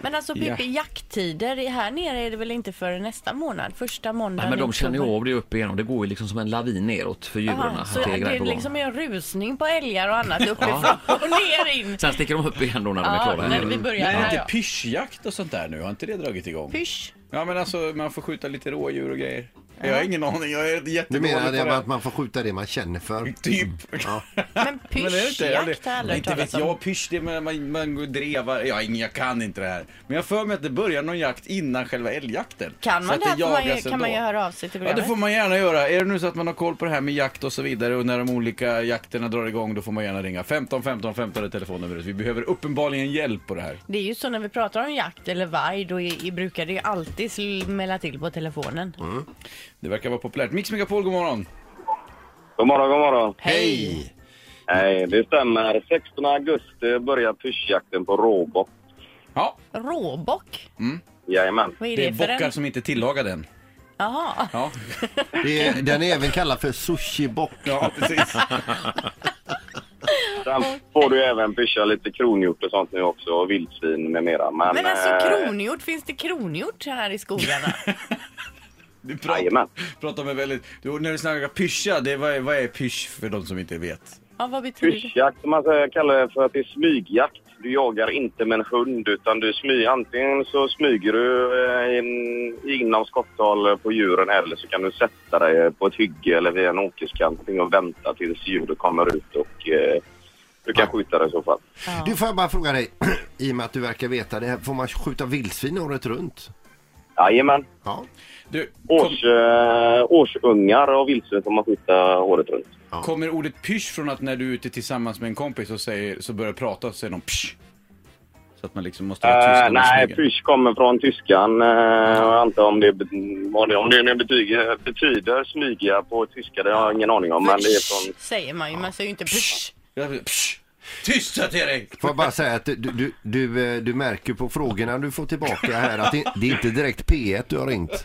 Men alltså BP jakttider, här nere är det väl inte för nästa månad? Första måndagen Nej, men i de känner ju oktober. av det upp igenom. Det går ju liksom som en lavin neråt för djuren. Aha, att så det är det grejer är på gång. liksom en rusning på älgar och annat uppifrån och ner in. Sen sticker de upp igen då när de är Ja, klara. när vi börjar. Men är Ja, inte ja. pyschjakt och sånt där nu? Har inte det dragit igång? Pysch. Ja men alltså man får skjuta lite rådjur och grejer. Jag har ingen aning, jag är Du jättedålig på menar det det. att man får skjuta det man känner för? Typ. Men Men det är inte, pyschjakt har jag aldrig inte hört vet talas om. jag, pysch det man, man, man går och drevar, ja, ingen- jag kan inte det här. Men jag har för mig att det börjar någon jakt innan själva älgjakten. Kan Så man att det här får man ju, jagas kan ändå. man ju höra av sig till Ja det programmet. får man gärna göra. Är det nu så att man har koll på det här med jakt och så vidare och när de olika jakterna drar igång då får man gärna ringa 15 15 15 är telefonnumret. Vi behöver uppenbarligen hjälp på det här. Det är ju så när vi pratar om jakt eller varg, då är, i- brukar det ju alltid smälla till på telefonen. Mm. Det verkar vara populärt. Mix Megapol, god morgon. God morgon, god morgon. Hej! Nej, det stämmer. 16 augusti börjar pyschjakten på råbock. Ja, Råbock? Jajamän. Vad är det det, är för bockar en? som inte tillagar den. Jaha. Ja, Det är, den är även kallad för sushibock. ja precis. Sen får du även pyscha lite kronhjort och sånt nu också och vildsvin med mera. Men, Men alltså eh, kronhjort, finns det kronhjort här i skogarna? Du pratar, Jajamän. pratar med väldigt... Du, när du snackar pyscha, det, vad, är, vad är pysch för de som inte vet? ja, vad betyder det? Pyschjakt som man säger, kallar det för att det är smygjakt. Du jagar inte med en hund utan du smy, antingen så smyger du eh, in, inom skotthåll på djuren eller så kan du sätta dig på ett hygge eller vid en åkerskant och vänta tills djuret kommer ut och eh, du kan skjuta det i så fall. Du får jag bara fråga dig, i och med att du verkar veta det här, får man skjuta vildsvin året runt? Jajamän. Ja. Du, kom, Års, eh, årsungar av vildsvin får man skjuta året runt. kommer ordet pysch från att när du är ute tillsammans med en kompis och säger, så börjar prata så säger de psch? Så att man liksom måste vara tyst Eh, om man nej, smyger. pysch kommer från tyskan. eh, och jag antar om det, be- vad det, om det nu betyder, betyder smyga på tyska, det har jag ingen aning om. Men det är från... Psch, säger man ju, man säger ju inte psch. Jag- Psch! Tyst sa jag till dig! Får jag bara säga att du, du, du, eh, du märker på frågorna du får tillbaka här att det, det är inte direkt P1 du har ringt.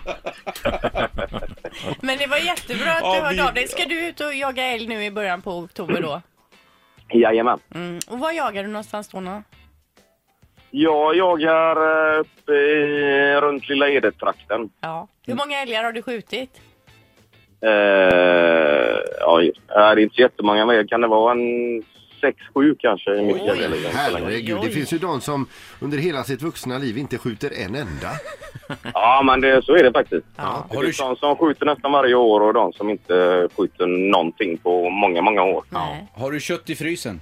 Men det var jättebra att Ja, du vi- hörde av dig. Ska du ut och jaga älg nu i början på oktober då? Jajamän. Mm. Och var jagar du någonstans då? nå? Jag jagar eh, uppe i, runt Lilla Edet-trakten. Ja. Hur många älgar har du skjutit? Eh, ja, det är inte så jättemånga, men kan det vara en sex, sju kanske? i mitt Oj. jävla liv än så länge. Herregud, det finns ju de som under hela sitt vuxna liv inte skjuter en enda. Ja, men det, så är det faktiskt. Ja. Det Har du- finns de som skjuter nästan varje år och de som inte skjuter någonting på många, många år. Nej. Har du kött i frysen?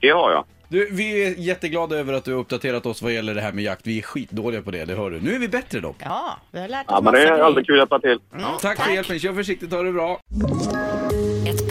Det har jag. Du, vi är jätteglada över att du har uppdaterat oss vad gäller det här med jakt. Vi är skitdåliga på det, det hör du. Nu är vi bättre dock. Ja, vi har lärt oss Ja, men det massa är grejer. alltid kul att hjälpa till. Tack för hjälpen, kör försiktigt, ha det bra. Ett